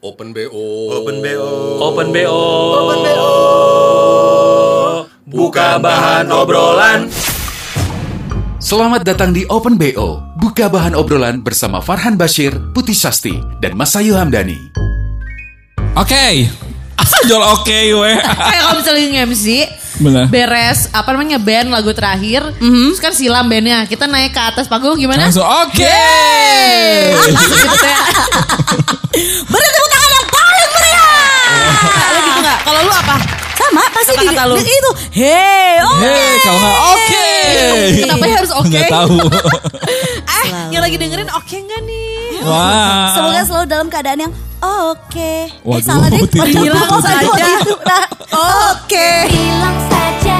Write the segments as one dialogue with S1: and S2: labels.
S1: Open BO.
S2: Open BO.
S3: Open BO.
S2: Open BO. Buka bahan obrolan.
S4: Selamat datang di Open BO, buka bahan obrolan bersama Farhan Bashir, Putih Sasti, dan Mas Ayu Hamdani.
S5: Oke. Asal jual oke weh.
S6: kayak kalau misalnya MC
S5: Bener.
S6: beres apa namanya band lagu terakhir terus kan silam bandnya kita naik ke atas panggung gimana
S5: Langsung oke.
S6: gitu kayak
S7: Beri tepuk tangan yang paling meriah.
S6: Lu gitu nggak kalau lu apa
S7: Sama pasti di,
S6: Kata-kata lu.
S7: di- itu. Hey, oke.
S5: Hei, kalau nggak oke.
S6: Kenapa ya harus oke?
S5: Nggak tahu.
S6: eh yang lagi dengerin oke nggak nih
S5: Wah.
S6: Ah.
S7: Semoga selalu dalam keadaan yang oke. Eh,
S5: Waduh,
S7: salah deh.
S5: tidur.
S7: Waduh,
S6: Hilang
S7: waduh,
S6: saja.
S7: waduh, nah, Oke.
S8: bilang saja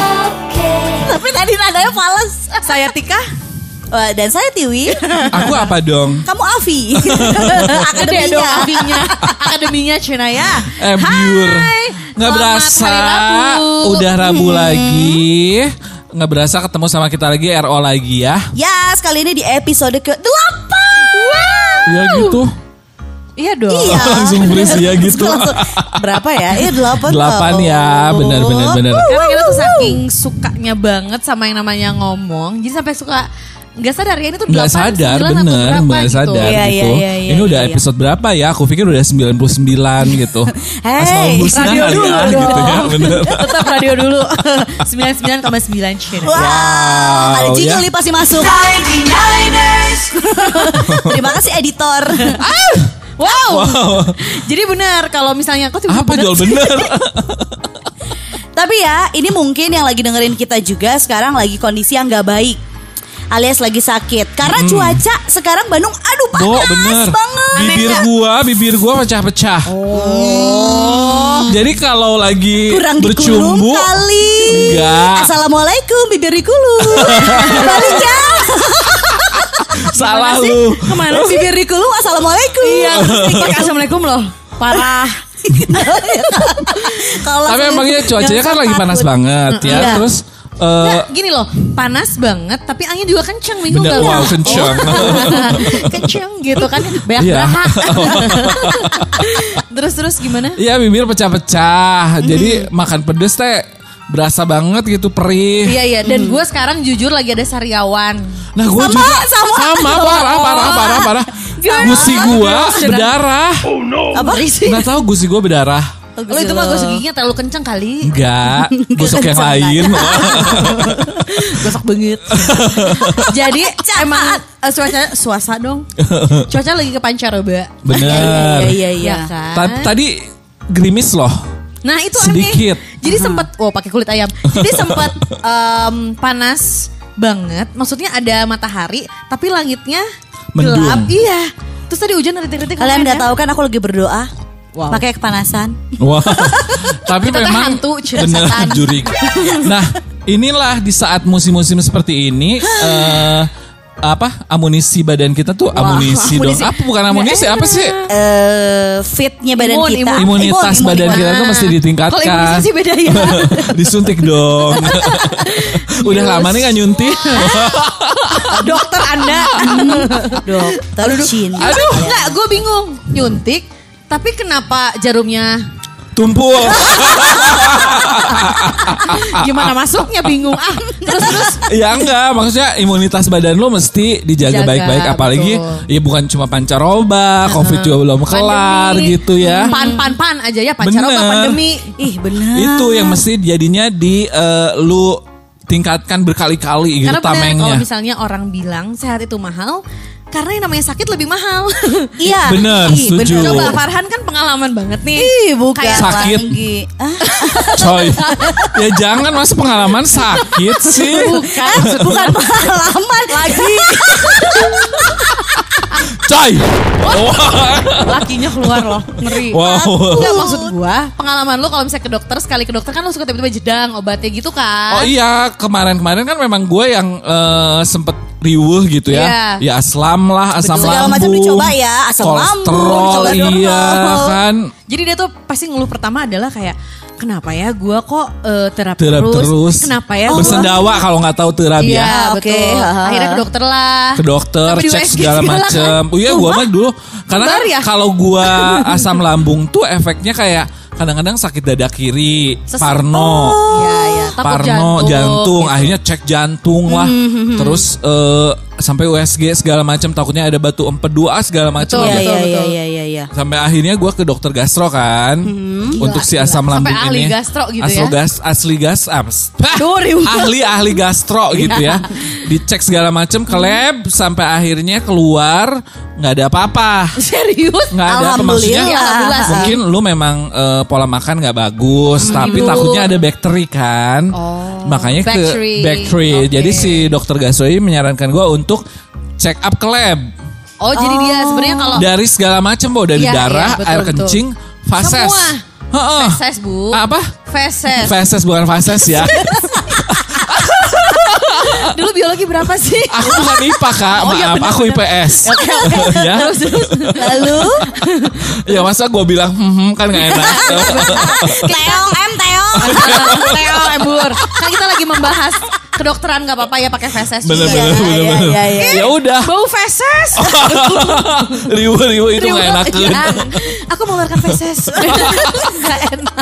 S8: oke
S7: Tapi tadi nadanya fals.
S6: saya Tika
S7: Wah, dan saya Tiwi.
S5: Aku apa dong?
S7: Kamu Avi.
S6: gede dong
S7: Akademinya.
S6: akademinya akademinya Cina ya
S5: Eh, biur. Nggak
S6: selamat
S5: berasa.
S6: hari Rabu. Hmm.
S5: Udah Rabu lagi. Nggak berasa ketemu sama kita lagi RO lagi ya.
S7: Ya, sekali ini di episode ke-8.
S5: Ya gitu.
S6: iya dong
S7: Iya.
S5: Langsung berisi ya gitu.
S7: Langsung. Berapa ya? Iya, 8.
S5: Delapan ya, benar benar benar.
S6: karena kita tuh saking sukanya banget sama yang namanya ngomong jadi sampai suka nggak sadar ya ini tuh
S5: Nggak
S6: delapan,
S5: sadar
S6: sembilan, atau
S5: bener
S6: berapa
S5: Nggak
S6: gitu.
S5: sadar
S7: Iya, iya,
S5: gitu
S7: iya, iya,
S5: Ini udah
S7: iya.
S5: episode berapa ya Aku pikir udah 99 gitu
S7: Hey,
S5: Asmaul Husna
S6: radio
S5: kali ya
S6: dulu
S5: gitu ya
S6: dong.
S5: Bener
S6: Tetap radio dulu. 99,9 Cina.
S7: Wow, ada
S5: Wow,
S7: jingle
S5: ya.
S7: nih pasti masuk. Terima kasih editor.
S6: Wow. Jadi benar kalau misalnya kok tiba-tiba
S5: Apa
S6: bener
S5: jual
S6: sih?
S5: bener
S7: Tapi ya, ini mungkin yang lagi dengerin kita juga sekarang lagi kondisi yang nggak baik. Alias lagi sakit. Karena cuaca sekarang Bandung aduh panas
S5: Hmm. Bo bener
S7: banget.
S5: Bibir gua Bibir gua pecah-pecah Jadi kalau lagi
S7: Oh. kurang dikulum
S5: bercumbu
S7: kali.
S5: Enggak.
S7: Assalamualaikum bibir dikulum. Balik ya.
S5: Salah
S6: sih?
S5: lu
S6: Kemana sih?
S7: Bibir dikulum assalamualaikum.
S6: Iya, terus diklik assalamualaikum loh. Parah.
S7: Kalau
S5: Tapi
S7: langsung
S5: emangnya
S7: itu,
S5: cuacanya
S7: jangan
S5: kan
S7: sok
S5: lagi
S7: ya. takut.
S5: panas banget
S7: Iya.
S5: ya Terus eh
S6: Nah, gini loh, panas banget tapi angin juga kenceng minggu
S5: Bener
S6: nggak?
S5: wow kenceng
S7: Oh.
S6: kenceng gitu kan banyak
S5: Iya.
S6: berahak terus terus gimana
S5: Iya bibir pecah-pecah. Jadi makan pedes teh berasa banget gitu perih.
S6: iya iya dan gue sekarang jujur lagi ada sariawan
S5: Nah gue
S7: Sama,
S5: juga
S7: sama.
S5: parah parah parah parah. Gusi gue berdarah.
S7: Apa?
S5: Nggak tahu gusi gue berdarah.
S6: lo
S7: Oh,
S6: itu mah gosok giginya terlalu kenceng kali
S5: Enggak, gosok yang
S7: Kenceng
S5: lain.
S6: gosok banget jadi emang eh, cuaca suasa dong cuaca lagi ke pancaroba
S5: Bener.
S7: Iya iya iya.
S6: Iya kan
S5: Ta- Tadi gerimis loh.
S6: nah itu
S5: sedikit. Hmm.
S6: aneh jadi sempet oh pakai kulit ayam jadi sempet em, panas banget maksudnya ada matahari tapi langitnya gelap
S5: Mendung.
S6: iya terus tadi hujan rintik-rintik
S7: Kalian
S6: kemarin
S7: udah
S6: ya.
S7: tahu kan aku lagi berdoa.
S6: Wow.
S7: Pakai kepanasan.
S5: Wah. Tapi
S6: Kita tuh
S5: memang
S6: hantu, cira
S5: bener
S6: setan.
S5: jurik. Nah, inilah di saat musim-musim seperti ini eh apa amunisi badan kita tuh amunisi,
S6: amunisi.
S5: dong. Apa bukan amunisi apa sih? Ah,
S7: eh fitnya badan
S6: Imun,
S7: kita.
S6: imun.
S5: Imunitas
S7: Imun,
S5: badan
S7: imun.
S5: kita tuh mesti
S6: Kalau
S5: ditingkatkan.
S6: imunisasi beda ya.
S5: Disuntik dong. Udah lama nih gak nyuntik.
S6: Dokter Anda.
S7: Dokter Cinta. Iya.
S5: Aduh,
S6: Enggak, gue Iya. bingung. Nyuntik, tapi kenapa jarumnya
S5: tumpul. Ah,
S6: gimana masuknya bingung ah. Terus terus
S5: ya enggak, maksudnya imunitas badan lo mesti dijaga
S6: Jaga,
S5: baik-baik apalagi
S6: betul.
S5: ya bukan cuma pancaroba, covid juga belum kelar
S6: pandemi. Hmm.
S5: gitu ya.
S6: Pan pan pan aja ya pancaroba
S5: Bener.
S6: pandemi.
S7: Ih benar.
S5: itu yang mesti jadinya di eh, lu tingkatkan berkali-kali gitu
S6: Karena benar kalau
S5: tamengnya.
S6: misalnya orang bilang sehat itu mahal, karena yang namanya sakit lebih mahal.
S7: Iya.
S5: Bener,
S7: Ih, bener.
S5: setuju.
S6: Coba Farhan kan pengalaman banget nih.
S7: Ih bukan
S6: Kayak
S5: Sakit.
S7: lagi. Ah,
S5: Coy. ya jangan masuk pengalaman sakit sih.
S6: Bukan,
S7: bukan pengalaman. Lagi.
S5: Coy.
S6: lakinya keluar loh, ngeri.
S5: Wow.
S6: Eh, Enggak maksud gua, pengalaman lu kalau misalnya ke dokter sekali ke dokter kan lu suka tiba-tiba jedang obatnya gitu
S5: iya,
S6: kan.
S5: Oh iya, kemarin-kemarin kan memang gue yang eh, sempet riuh gitu
S6: Iya.
S5: ya. Ya asam lah, asam
S7: Betul. Segala
S5: lambung.
S7: macam dicoba ya, asam lambung,
S5: kolesterol,
S7: colesterol.
S5: iya kan.
S6: Jadi dia tuh pasti ngeluh pertama adalah kayak kenapa ya gue kok eh, terap,
S5: Terap
S6: terus,
S5: terus.
S6: kenapa ya gua-
S5: Bersendawa kalau nggak tahu terap
S6: Iya
S5: ya.
S7: oke.
S6: betul. Akhirnya ke dokter lah.
S5: Ke dokter,
S6: Sampai di
S5: cek
S6: USG
S5: segala
S6: segala
S5: macam.
S6: kan.
S5: Oh iya gua
S6: Sumpah.
S5: mah dulu. Karena kan
S6: Kembar ya?
S5: kalau gua asam lambung tuh efeknya kayak kadang-kadang sakit dada kiri,
S6: Sesek.
S5: parno.
S6: Iya, iya. Takut
S5: Parno jantung,
S6: gitu. Hmm,
S5: akhirnya cek jantung lah terus eh, sampai USG segala macam takutnya ada batu empedu ah, segala macam
S6: Betul,
S7: Iya,
S5: ya.
S7: iya,
S6: betul.
S7: iya, iya, iya, iya.
S5: sampai akhirnya gua ke dokter gastro kan untuk si asam
S6: Hmm, Sampai
S5: lambung
S6: ahli
S5: ini
S6: gastro gitu
S5: Asli
S6: ya.
S5: gas asli gas abs.
S7: Duh, riuh.
S5: ahli ahli gastro gitu ya
S6: Iya.
S5: dicek segala macam ke lab sampai akhirnya keluar nggak ada apa-apa
S6: Serius?
S5: nggak ada apa maksudnya
S7: Alhamdulillah.
S6: Alhamdulillah sih. Hmm.
S5: mungkin lu memang eh, pola makan nggak bagus tapi takutnya ada bakteri kan
S6: Oh,
S5: makanya ke
S6: bakteri.
S5: bakteri
S6: Oke.
S5: jadi si dokter Gasoi menyarankan gue untuk check up ke lab
S6: Oh, jadi dia sebenarnya kalau
S5: dari segala macam bo dari
S6: Iya, iya,
S5: darah
S6: betul,
S5: air
S6: betul.
S5: kencing fases
S6: Semua.
S5: Heeh. Ah,
S6: feses bu.
S5: apa
S6: Feses.
S5: feses bukan fases ya
S6: Dulu biologi berapa sih?
S5: aku bukan IPA kak
S6: Oh, iya,
S5: maaf
S6: benar,
S5: aku IPS ya
S6: Terus terus.
S7: Lalu,
S5: ya masa gue bilang hmm, kan nggak enak
S7: teong, em teong.
S6: Leo Embur. Kan kita lagi membahas kedokteran nggak apa-apa ya pakai feses.
S5: bener
S6: juga.
S5: bener
S7: Iya,
S5: bener
S7: iya,
S5: bener
S7: iya, iya.
S5: ya udah
S6: Bau feses.
S5: riuh riuh itu nggak
S6: Riwel,
S5: enak
S6: iya. Aku mengeluarkan feses. Gak enak.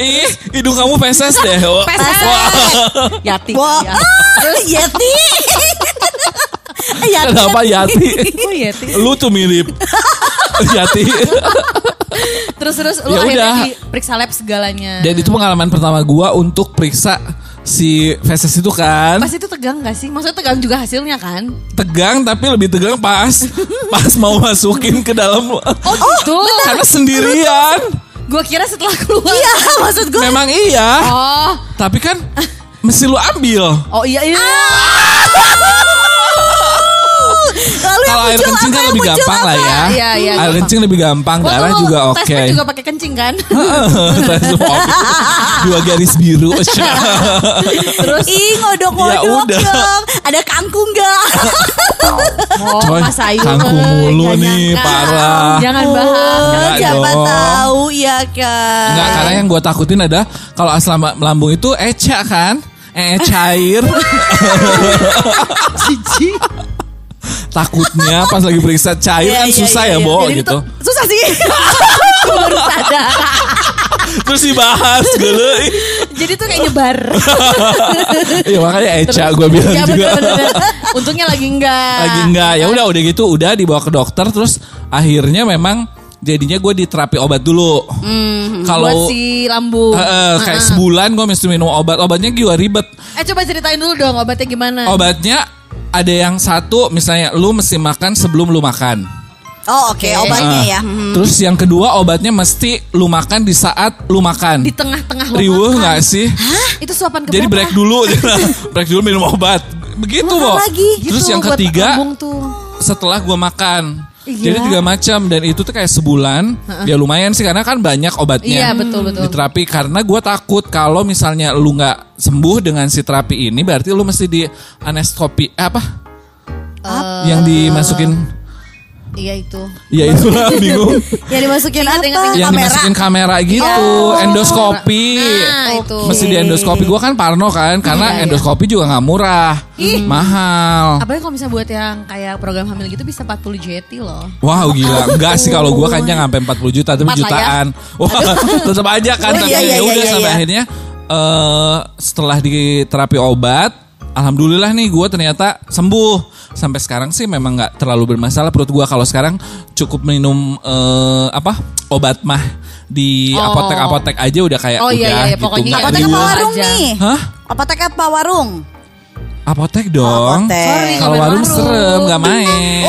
S5: Ih, hidung kamu feses deh.
S6: Feses. Yati.
S7: Wah,
S6: Ya.
S7: ah, Yeti. Yati.
S5: Kenapa Yati?
S6: Oh Yati.
S5: Lu tuh mirip. Yati.
S6: Terus terus lu
S5: Ya
S6: akhirnya
S5: udah.
S6: diperiksa lab segalanya.
S5: Dan itu pengalaman pertama gua untuk periksa si feses itu kan.
S6: Pas itu tegang gak sih? Maksudnya tegang juga hasilnya kan?
S5: Tegang tapi lebih tegang pas pas mau masukin ke dalam
S6: Oh gitu.
S5: karena sendirian.
S6: Gue kira setelah keluar.
S7: Iya, maksud gue.
S5: Memang iya,
S6: Oh,
S5: tapi kan mesti lu ambil.
S6: oh iya iya.
S5: Ah.
S7: Lalu yang
S5: Kalau air
S7: muncul
S5: kencing
S7: apa,
S5: kan
S7: yang
S5: lebih
S7: muncul
S5: gampang lah
S7: apa?
S5: ya.
S6: Iya, iya,
S5: Air
S6: gampang.
S5: kencing lebih gampang,
S6: Waktu
S5: darah
S6: lu
S5: juga oke.
S6: tes kan juga pakai kencing kan?
S5: Tes semua. Dua garis biru.
S6: Terus
S7: Ih, ngodok-ngodok
S5: Ya udah.
S7: dong. Ada kangkung gak?
S6: oh,
S5: Coy,
S6: Mas Ayu.
S5: kangkung
S6: eh,
S5: mulu
S6: jangan
S5: nih,
S6: kan.
S5: parah.
S6: Jangan bahas.
S7: Oh,
S5: Enggak
S7: siapa
S5: dong.
S7: tahu ya kan.
S5: Enggak, karena yang gue takutin ada kalau asam lambung itu eca kan, eh cair. Takutnya pas lagi periksa cair
S7: Iya,
S5: kan
S7: iya,
S5: susah ya,
S7: iya, iya.
S5: Bo
S7: Jadi
S5: gitu.
S7: tuh, Susah sih.
S6: Baru sadar.
S5: Terus dibahas gele.
S6: Jadi tuh kayak nyebar.
S5: Iya makanya eca gue bilang
S7: iya,
S6: ya
S5: juga.
S6: bener-bener. Untungnya lagi enggak.
S7: Nah,
S5: Lagi enggak, ya udah udah gitu, udah dibawa ke dokter terus akhirnya memang jadinya gue diterapi obat dulu.
S6: Buat
S7: Hmm,
S5: Kalau
S6: si lambung.
S5: eh, eh, kayak sebulan gue mesti minum obat, obatnya juga ribet.
S6: Eh coba ceritain dulu dong obatnya gimana.
S5: Obatnya ada yang satu misalnya lu mesti makan sebelum lu makan.
S7: Oh oke, obatnya
S5: Ah.
S7: ya.
S6: Mm-hmm.
S7: Hmm.
S5: Terus yang kedua obatnya mesti lu makan di saat lu makan.
S6: Di tengah-tengah lo
S5: Riuh
S6: makan.
S5: nggak sih?
S6: Itu suapan keberapa?
S5: Jadi break dulu, break dulu minum obat. Begitu
S7: Makan
S5: Bo.
S7: lagi.
S5: Terus
S6: Gitu,
S5: yang
S6: buat
S5: ketiga
S6: lambung tuh.
S5: setelah gua makan.
S6: Iya.
S5: Jadi tiga macam dan itu tuh kayak sebulan. Ya lumayan sih karena kan banyak obatnya.
S6: Iya, betul, betul.
S5: Di terapi karena gua takut kalau misalnya lu nggak sembuh dengan si terapi ini berarti lu mesti di anestopi eh, apa?
S6: Eh,
S5: yang dimasukin
S6: Iya itu.
S5: ya itulah bingung
S7: Yang dimasukin
S6: Ingat, ingat,
S7: apa?
S6: ingat.
S5: yang
S7: Kamera.
S5: dimasukin kamera gitu endoskopi
S6: Oh.
S5: Oh,
S6: Nah, itu.
S5: mesti di endoskopi gue kan parno kan karena endoskopi juga nggak murah
S6: Ih.
S5: mahal
S6: Apalagi kalau misalnya buat yang kayak program hamil gitu bisa 40 JT loh.
S5: Wow gila, enggak sih kalau gua kayaknya nggak sampai 40 juta tapi
S6: Empat lah ya.
S5: jutaan. Wah, tetap aja kan
S7: Oh,
S5: tapi
S7: iya, iya,
S5: ya udah
S7: iya,
S5: sampai
S7: iya.
S5: akhirnya eh setelah di terapi obat, alhamdulillah nih gua ternyata sembuh. Sampai sekarang sih memang nggak terlalu bermasalah perut gua kalau sekarang cukup minum eh apa? obat mah di
S6: Oh.
S5: apotek-apotek aja udah kayak
S6: Oh,
S5: udah
S6: iya, iya,
S5: gitu.
S6: pokoknya
S5: nggak
S7: Apotek
S6: Iya.
S7: apa
S5: riuh.
S7: warung
S6: Aja.
S7: nih?
S5: Hah?
S7: Apotek apa warung?
S5: Apotek dong.
S6: Sorry,
S5: Kalau
S6: Komen
S5: warung
S6: warung.
S5: serem, nggak main.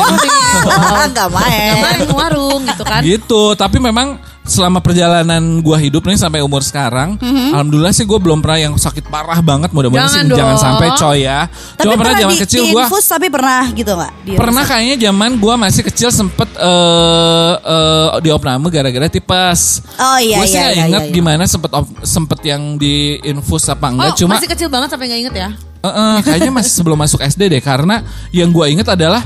S7: Wah, enggak main.
S6: Kemarin ke warung gitu kan.
S5: Gitu, tapi memang selama perjalanan gua hidup nih sampai umur sekarang,
S7: Mhm.
S5: alhamdulillah sih gua belum pernah yang sakit parah banget. Mudah-mudahan
S6: Jangan
S5: sih
S6: dong.
S5: jangan sampai coy ya.
S7: Tapi
S5: Cuma pernah zaman
S7: di-
S5: kecil
S7: di
S5: gua
S7: infus tapi pernah gitu nggak? Di-
S5: pernah kayaknya zaman gua masih kecil sempet eh eh, diopname gara-gara tipes.
S7: Oh, iya,
S5: Gua sih
S7: iya,
S5: nggak
S7: iya,
S5: inget
S7: iya, iya.
S5: gimana sempet op- sempet yang diinfus apa
S6: Oh,
S5: enggak. Cuma
S6: masih kecil banget sampai nggak inget ya?
S5: Eh, kayaknya masih sebelum masuk SD deh karena yang gua inget adalah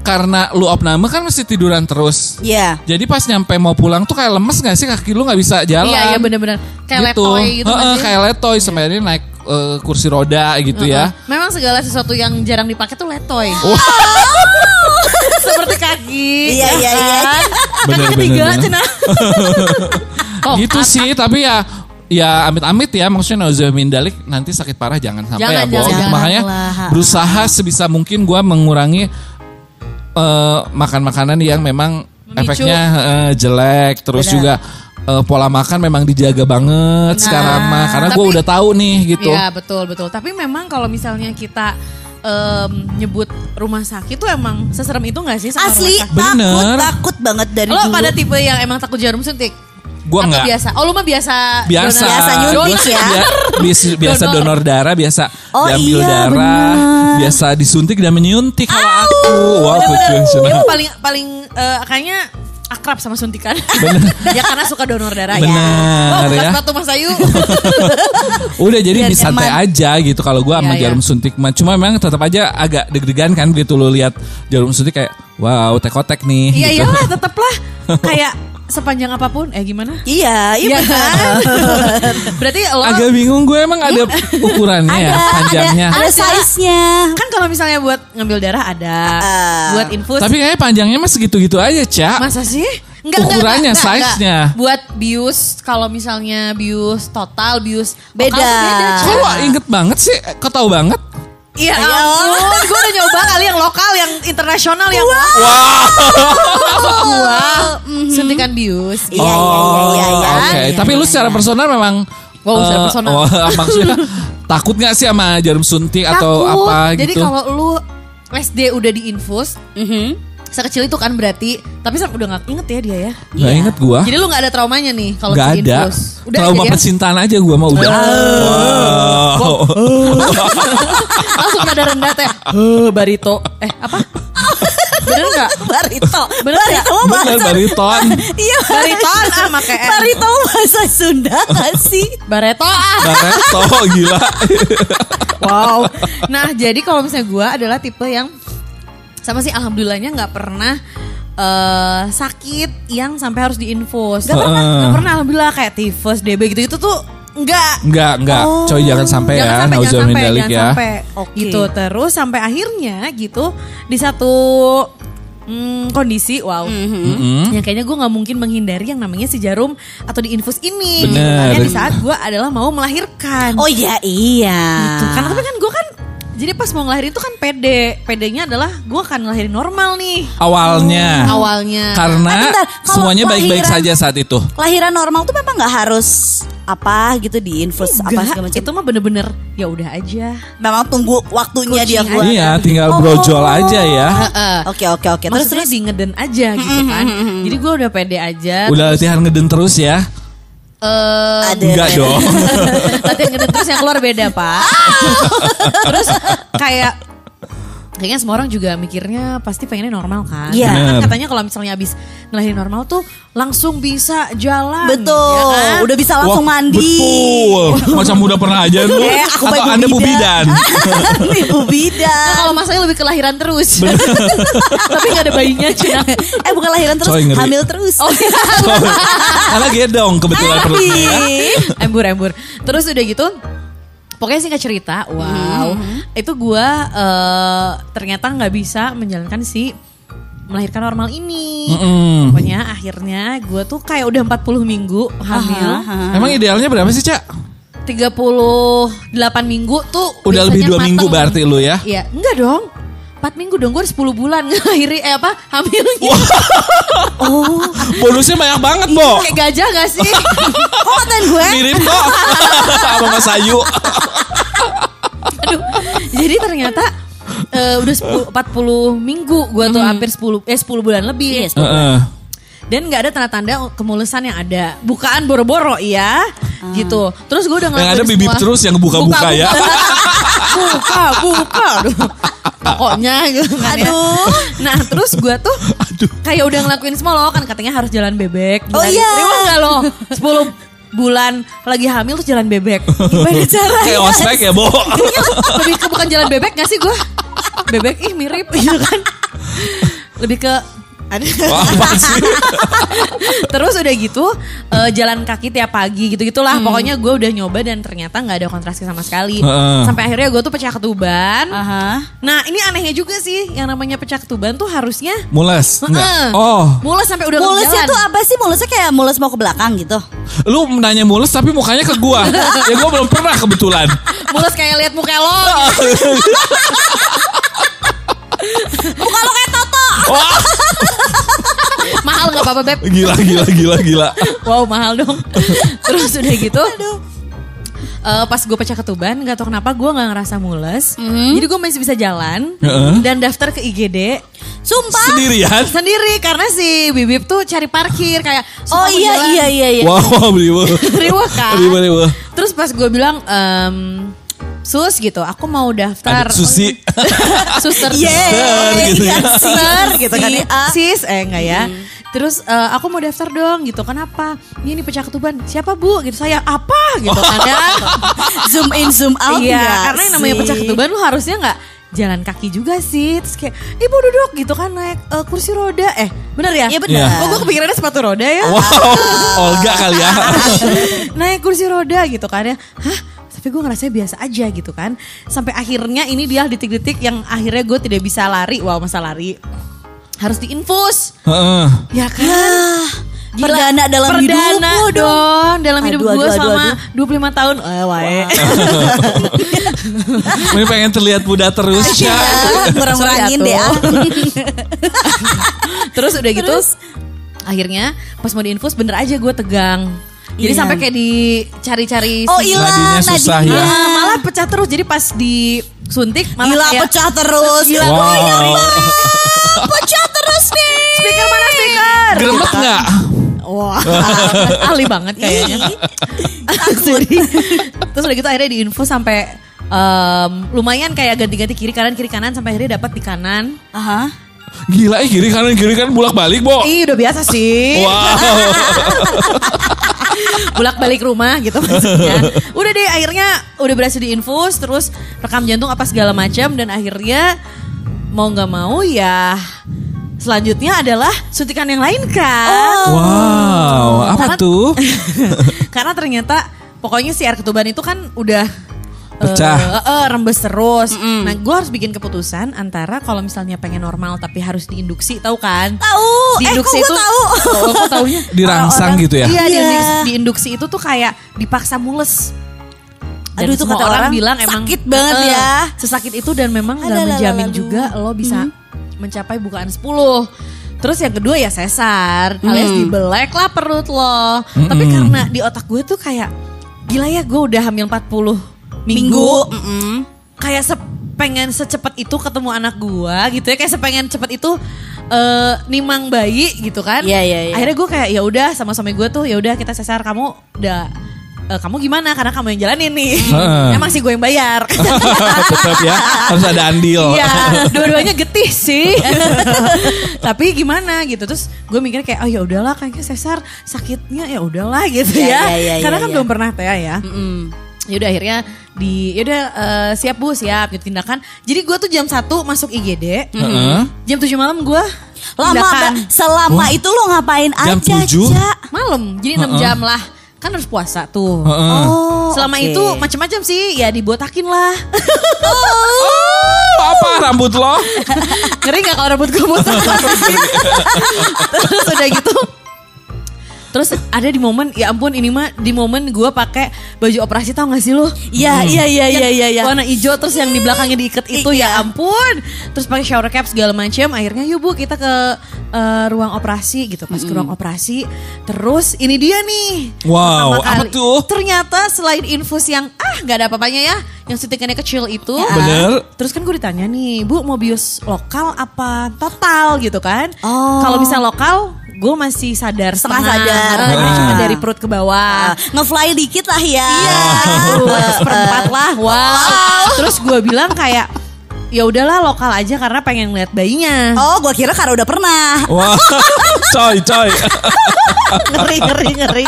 S5: karena lu opname kan masih tiduran terus.
S7: Iya.
S5: Jadi pas nyampe mau pulang tuh kayak lemes gak sih kaki lu nggak bisa jalan.
S6: Iya, iya benar-benar kayak
S5: gitu.
S6: letoy gitu
S5: Heeh,
S6: kan sih.
S5: kayak letoy sebenarnya naik eh, kursi roda gitu ya.
S6: Heeh. Memang segala sesuatu yang jarang dipakai tuh letoy.
S5: Oh.
S6: Oh. Seperti kaki. ya kan?
S7: Iya, iya, iya.
S5: Bener,
S6: Kaki
S5: bener,
S6: ketiga,
S5: bener.
S6: Cina. Oh,
S5: gitu sih, tapi ya ya amit-amit ya maksudnya nauzubillahin dalik nanti sakit parah jangan sampai
S6: Jangan,
S5: ya Bo.
S6: jangan,
S5: Gitu.
S6: jangan
S5: Makanya
S7: lah.
S5: berusaha sebisa mungkin gua mengurangi eh, makan makanan yang memang
S6: Memicu.
S5: efeknya eh, jelek terus
S7: Benar.
S5: juga eh, pola makan memang dijaga banget sekarang mah karena gua
S6: tapi-
S5: udah tahu nih gitu.
S6: Iya betul betul. Tapi memang kalau misalnya kita em, nyebut rumah sakit tuh emang seserem itu nggak sih? Sama
S7: Asli
S6: Rumah sakit?
S5: Bener.
S7: takut takut banget dari
S6: Lo
S7: dulu.
S6: pada tipe yang emang takut jarum suntik?
S5: Gua
S6: Atau
S5: enggak.
S6: biasa. Oh lu mah biasa.
S5: biasa
S6: donor?
S7: Biasa nyuntik ya.
S5: Bia- biasa biasa
S6: Donor.
S5: donor darah biasa
S7: Oh
S5: diambil
S7: iya,
S5: darah
S7: bener.
S5: biasa disuntik dan menyuntik kalau aku wow profesional
S6: Dia Iya, paling paling eh, kayaknya akrab sama suntikan. ya karena suka donor darah ya.
S5: Benar,
S6: Oh, bukan
S5: ya.
S6: sepatu Mas Ayu.
S5: udah jadi
S7: Biar
S5: bisa santai
S7: nyaman.
S5: aja gitu kalau gua sama
S6: Iya, iya.
S5: jarum suntik mah cuma memang tetap aja agak deg-degan kan gitu lo lihat jarum suntik kayak wow tekotek nih
S6: Iya
S5: gitu.
S6: iyalah tetep lah. Kayak sepanjang apapun. Eh gimana?
S7: Iya, iya
S6: Iya. kan?
S7: benar.
S6: Berarti lo
S5: agak bingung gue emang
S6: Iya.
S5: ada ukurannya ya
S7: Ada, ada,
S5: panjangnya
S7: ada size-nya.
S6: kan kalau misalnya buat ngambil darah ada,
S7: Ah.
S6: buat infus
S5: tapi kayaknya panjangnya mah segitu-gitu aja cak
S6: Masa sih?
S5: Ukurannya, size-nya.
S6: Buat bius kalau misalnya bius total, bius
S7: Beda.
S6: vokal tuh beda.
S5: Kok lo inget banget sih kok tahu banget
S6: Iya, ampun. Gue udah nyoba kali yang lokal, yang internasional, yang gua suntikan bius.
S7: Iya, iya, iya, iya.
S5: Oh, Oke,
S7: iya,
S5: tapi
S7: iya,
S5: lu
S7: iya.
S5: secara personal memang
S6: Wow, secara
S5: eh,
S6: personal.
S5: oh, maksudnya takut nggak sih sama jarum suntik atau
S6: Takut.
S5: apa
S6: Jadi
S5: gitu?
S6: kalau lu SD udah diinfus, sekecil itu kan berarti, tapi sam- udah nggak inget ya dia ya.
S5: Nggak inget gua.
S6: Jadi lu nggak ada traumanya nih kalau
S5: Gak ada.
S6: diinfus. Udah
S5: Trauma
S6: jadi ya?
S5: percintaan aja gua mah udah. Wow.
S6: langsung pada rendah teh. Eh, barito. Eh, apa? Bener nggak?
S7: Barito.
S6: Bener
S7: Barito lo
S5: Bener
S7: bahasa.
S5: bariton.
S7: Iya.
S6: Bariton ah make N.
S7: Barito lo bahasa Sunda gak sih?
S6: Bareto ah.
S5: Bareto gila.
S6: Wow. Nah, jadi kalau misalnya gue adalah tipe yang sama sih alhamdulillahnya nggak pernah eh sakit yang sampai harus diinfus. Gak pernah,
S5: Heeh.
S6: nggak pernah alhamdulillah kayak tifus, DB gitu-gitu tuh nggak.
S5: Enggak, enggak. Coy jangan sampai ya.
S6: Oh. jangan sampai, jangan
S5: Nauzubillah
S6: sampai,
S5: dalik
S6: jangan
S5: ya.
S6: sampai.
S7: Oke.
S6: Gitu terus sampai akhirnya gitu di satu mm, kondisi wow.
S5: Mm-hmm.
S6: Yang kayaknya gue nggak mungkin menghindari yang namanya si jarum atau diinfus ini. gitu.
S5: Bener.
S6: Makanya di saat gue adalah mau melahirkan.
S7: Oh iya, iya.
S6: Gitu. Karena tapi kan gue kan jadi pas mau ngelahirin tuh kan pede. Pedenya adalah gue akan ngelahirin normal nih.
S5: Awalnya.
S7: Ah.
S6: Hmm, Awalnya. Ah,
S5: Karena
S7: Tapi bentar, kalau
S5: semuanya baik-baik
S7: lahiran-
S5: saja saat itu.
S7: Lahiran normal tuh memang gak harus apa gitu diinfus apa
S6: Enggak,
S7: segala macam.
S6: itu mah bener-bener ya udah aja.
S7: memang tunggu waktunya
S6: Kucing
S7: dia keluar.
S5: Iya, tinggal
S6: Oh.
S5: brojol aja
S6: Ah,
S5: ya.
S6: Heeh.
S7: Oke, oke, oke. Terus
S6: Maksudnya di ngeden aja
S7: Hmm,
S6: gitu kan. Jadi gue udah pede aja.
S5: Udah latihan ngeden terus ya.
S6: Eh,
S7: ada
S5: Enggak
S7: ada-
S5: dong.
S6: latihan ngedit terus yang keluar beda pak terus kayak kayaknya semua orang juga mikirnya pasti pengennya normal kan
S7: Iya.
S6: Karena kan
S5: Bener.
S6: katanya kalau misalnya abis ngelahirin normal tuh langsung bisa jalan
S7: Betul.
S6: ya kan?
S7: Udah bisa langsung
S5: Wah,
S7: mandi.
S5: Betul. Macam udah pernah aja lu.
S7: Eh, aku
S5: Atau
S7: baik
S5: Anda
S7: Bu
S5: Bu
S7: Bidan.
S5: Bidan.
S7: Ibu bidan.
S6: Nah, kalau masanya lebih kelahiran terus tapi nggak ada bayinya cina
S7: eh bukan lahiran terus,
S5: Coy, ngeri.
S7: hamil terus.
S6: oh iya.
S5: Karena gedong ya kebetulan perutnya. ya.
S6: embur embur terus udah gitu pokoknya singkat cerita wow
S5: Mm-hmm.
S6: itu gua eh, ternyata nggak bisa menjalankan si melahirkan normal ini
S5: Mm-mm.
S6: pokoknya akhirnya gua tuh kayak udah 40 minggu hamil
S5: Emang idealnya berapa sih, Cak?
S6: 38 minggu tuh
S5: Udah lebih
S6: biasanya
S5: dua minggu
S6: mateng.
S5: berarti lu ya?
S6: iya enggak dong 4 minggu dong gue 10 bulan ngelahirin eh apa hamilnya
S5: Bonusnya banyak banget, Bo.
S6: kayak gajah gak sih
S7: Kok ngatain gue?
S5: Mirip, Bo. Sama Mas Ayu.
S6: Aduh. Jadi ternyata eh, udah 10, 40 minggu gua tuh hampir 10 eh 10 bulan lebih.
S5: Heeh.
S6: Dan nggak ada tanda-tanda kemulesan yang ada. Bukaan boro-boro ya.
S7: Ah.
S6: Gitu. Terus gua udah
S5: Yang ada
S6: ngelakuin
S5: bibip
S6: semua-
S5: terus yang buka-buka ya.
S6: Buka, buka. Aduh. Pokoknya gitu kan ya.
S7: Aduh.
S6: Nah, terus gua tuh kayak udah ngelakuin semua loh kan katanya harus jalan bebek.
S7: Oh
S6: Jalan-
S7: iya.
S6: Terima enggak loh. 10 bulan lagi hamil terus jalan bebek. Gimana caranya?
S5: Kayak ospek ya, Bo.
S6: Lebih ke bukan jalan bebek gak sih gue? Bebek ih mirip
S5: Iya.
S6: gitu kan. Lebih ke
S5: Wah, apa sih?
S6: Terus udah gitu eh, jalan kaki tiap pagi
S5: Hmm.
S6: gitu-gitulah. Pokoknya gue udah nyoba dan ternyata nggak ada kontrasi sama sekali.
S5: Heeh. Ah.
S6: Sampai akhirnya gue tuh pecah ketuban.
S7: Aha.
S6: Nah ini anehnya juga sih yang namanya pecah ketuban tuh harusnya
S5: Mules? Enggak.
S6: Heeh.
S5: Oh, ah.
S6: mules sampai udah nggak
S7: Mulusnya
S6: jalan.
S7: tuh apa sih? Mulusnya kayak mulus mau ke belakang gitu.
S5: lu nanya mules tapi mukanya ke gua. ya gua belum pernah kebetulan.
S6: Mules kayak lihat muka lo.
S5: Oh.
S7: Muka lo kayak Toto.
S5: Wah,
S6: Mahal nggak apa-apa beb.
S5: gila gila gila gila.
S6: Wow mahal dong. Terus udah gitu. eh, pas gue pecah ketuban gak tau kenapa gue gak ngerasa mules
S7: Mm-hmm.
S6: Jadi gue masih bisa jalan
S5: Heeh.
S6: Dan daftar ke IGD
S7: Sumpah.
S5: Sendirian.
S6: Sendiri karena si Bibip tuh cari parkir Kayak
S7: Oh
S6: "Sumpah, gua
S7: iya
S6: jalan."
S7: iya iya iya.
S5: Wah, wah, beribu.
S6: Riweh kan
S5: Riweh, riweh.
S6: Terus pas gue bilang em, Sus gitu aku mau daftar
S5: Ada
S6: Oh,
S5: Susi.
S6: Suster
S7: Iya.
S5: Suster, gitu ya.
S6: Suster gitu kan
S7: ya.
S6: Sis eh enggak ya
S7: Iya.
S6: Terus eh, aku mau daftar dong gitu Kenapa Ini nih pecah ketuban Siapa bu gitu Saya apa gitu kan ya
S7: Zoom in zoom out.
S6: Iya
S7: nggak
S6: karena yang namanya
S7: Oh, sih?
S6: pecah ketuban Lu harusnya nggak jalan kaki juga sih Terus kayak Ibu duduk gitu kan naik eh, kursi roda Eh bener ya
S7: Iya, bener.
S6: Oh gue kepikirannya sepatu roda ya
S5: Wow, Olga kali ya.
S6: naik kursi roda gitu kan ya hah tapi gue ngerasa biasa aja gitu kan sampai akhirnya ini dia detik-detik yang akhirnya gue tidak bisa lari wow masa lari harus diinfus
S5: Heeh.
S6: ya kan Gila.
S7: Perdana dalam
S6: Perdana
S7: hidupmu dong.
S6: dong dalam hidup
S7: Aduh,
S6: gue
S7: aduh, aduh,
S6: selama 25 tahun eh, wae.
S5: Ini pengen terlihat muda terus
S7: Iya,
S5: ya.
S7: ngurang-ngurangin
S6: Sorry,
S7: deh ah.
S6: atuh. Terus udah gitu akhirnya pas mau diinfus bener aja gue tegang jadi
S7: Iya.
S6: sampai kayak dicari-cari
S7: Oh
S6: si-
S7: ilah
S5: Nadinya susah
S7: nadinya.
S5: ya.
S6: Ah, malah pecah terus jadi pas disuntik malah
S7: Gila
S6: kayak
S7: pecah terus. Gila
S5: Wow.
S7: pecah terus nih.
S6: speaker mana speaker
S5: Gremet nggak?
S7: Wah.
S6: ahli banget kayaknya jadi terus udah gitu akhirnya diinfo sampai em, lumayan kayak ganti-ganti kiri kanan kiri kanan sampai akhirnya dapat di kanan
S7: Aha.
S5: Gila, eh, kiri kanan kiri kanan bolak balik, Bo.
S6: ih udah biasa sih
S5: Oh. Wow.
S6: bolak balik rumah gitu maksudnya udah deh akhirnya udah berhasil diinfus terus rekam jantung apa segala macam dan akhirnya mau nggak mau ya selanjutnya adalah suntikan yang lain kan
S7: Oh.
S5: Wow, apa
S6: Karena-
S5: tuh?
S6: Karena ternyata pokoknya si air ketuban itu kan udah
S5: Pecah.
S6: eh, eh, rembes terus. Nah, gue harus bikin keputusan antara kalau misalnya pengen normal tapi harus diinduksi, tahu kan?
S7: Tahu. Eh kok gue tahu.
S6: Oh, kok taunya?
S5: Dirangsang
S7: Orang-orang-
S5: gitu ya.
S6: Iya,
S7: Iya.
S6: diinduksi- diinduksi itu tuh kayak dipaksa mules. Dan
S7: Aduh, itu
S6: semua
S7: kata orang
S6: bilang emang
S7: sakit banget
S6: eh,
S7: ya.
S6: Sesakit itu dan memang nggak
S7: Aduh,
S6: menjamin
S7: lalu, lalu.
S6: juga lo bisa mencapai bukaan 10. Terus yang kedua ya sesar,
S7: Hmm.
S6: alias dibelek lah perut lo. Tapi
S5: Hmm.
S6: karena di otak gue tuh kayak gila ya gue udah hamil 40 minggu.
S7: Minggu. mm-mm.
S6: Kayak se- pengen secepat itu ketemu anak gua gitu ya kayak sepengen cepet itu eh, nimang bayi gitu kan
S7: Iya, iya, iya.
S6: akhirnya gue kayak ya udah sama suami gue tuh ya udah kita sesar kamu udah eh, kamu gimana karena kamu yang jalanin nih
S5: Heeh.
S6: emang sih gue yang bayar
S5: Tetap ya, harus ada andil.
S6: Iya, dua-duanya getih sih. Tapi gimana gitu. Terus gue mikir kayak oh ya udahlah kayaknya sesar sakitnya ya udahlah gitu
S7: Iya,
S6: ya.
S7: iya, iya,
S6: Karena
S7: iya,
S6: kan
S7: iya.
S6: belum pernah TA ya. Ya udah akhirnya di ya udah eh, siap Bu, siap gitu tindakan. Jadi gue tuh jam 1 masuk IGD.
S5: Heeh.
S6: Jam 7 malam gue
S7: Lama
S6: tindakan.
S7: ba- selama itu lo ngapain
S5: Jam
S7: aja?
S5: tujuh?
S7: Ca?
S6: Malam. Jadi 6 jam lah. Kan harus puasa tuh.
S5: Heeh.
S7: Oh.
S6: Selama
S7: oke.
S6: itu macam-macam sih, ya dibotakin lah.
S5: Oh, apa rambut lo?
S6: Ngeri gak kalau rambut gue botak Terus udah gitu Terus ada di momen Ya ampun ini mah Di momen gue pakai Baju operasi tau gak sih lo
S7: Iya iya iya iya iya. iya.
S6: Warna hijau terus yang di belakangnya diikat itu ya ampun. Terus pakai shower cap segala macam. Akhirnya yuk Bu kita ke eh, ruang operasi gitu. Pas ke ruang operasi terus ini dia nih.
S5: Wow,
S6: Pertama kali.
S5: apa tuh?
S6: Ternyata selain infus yang ah nggak ada apa-apanya ya, yang suntikannya kecil itu.
S7: Iya.
S5: Bener.
S6: Terus kan gue ditanya nih, Bu mau bius lokal apa total gitu kan?
S7: Oh.
S6: Kalau bisa lokal gue masih sadar
S7: Setengah sadar.
S6: Eh, jadi
S5: Ah.
S6: cuma dari perut ke bawah
S7: Ah, Ngefly dikit lah ya.
S6: dua seperempat Iya. lah wow, terus gue bilang kayak
S7: Eh,
S6: ya udahlah lokal aja karena pengen ngeliat bayinya
S7: Oh, gua kira karena udah pernah.
S5: Wah, coy coy.
S6: Oh,
S7: ngeri ngeri ngeri.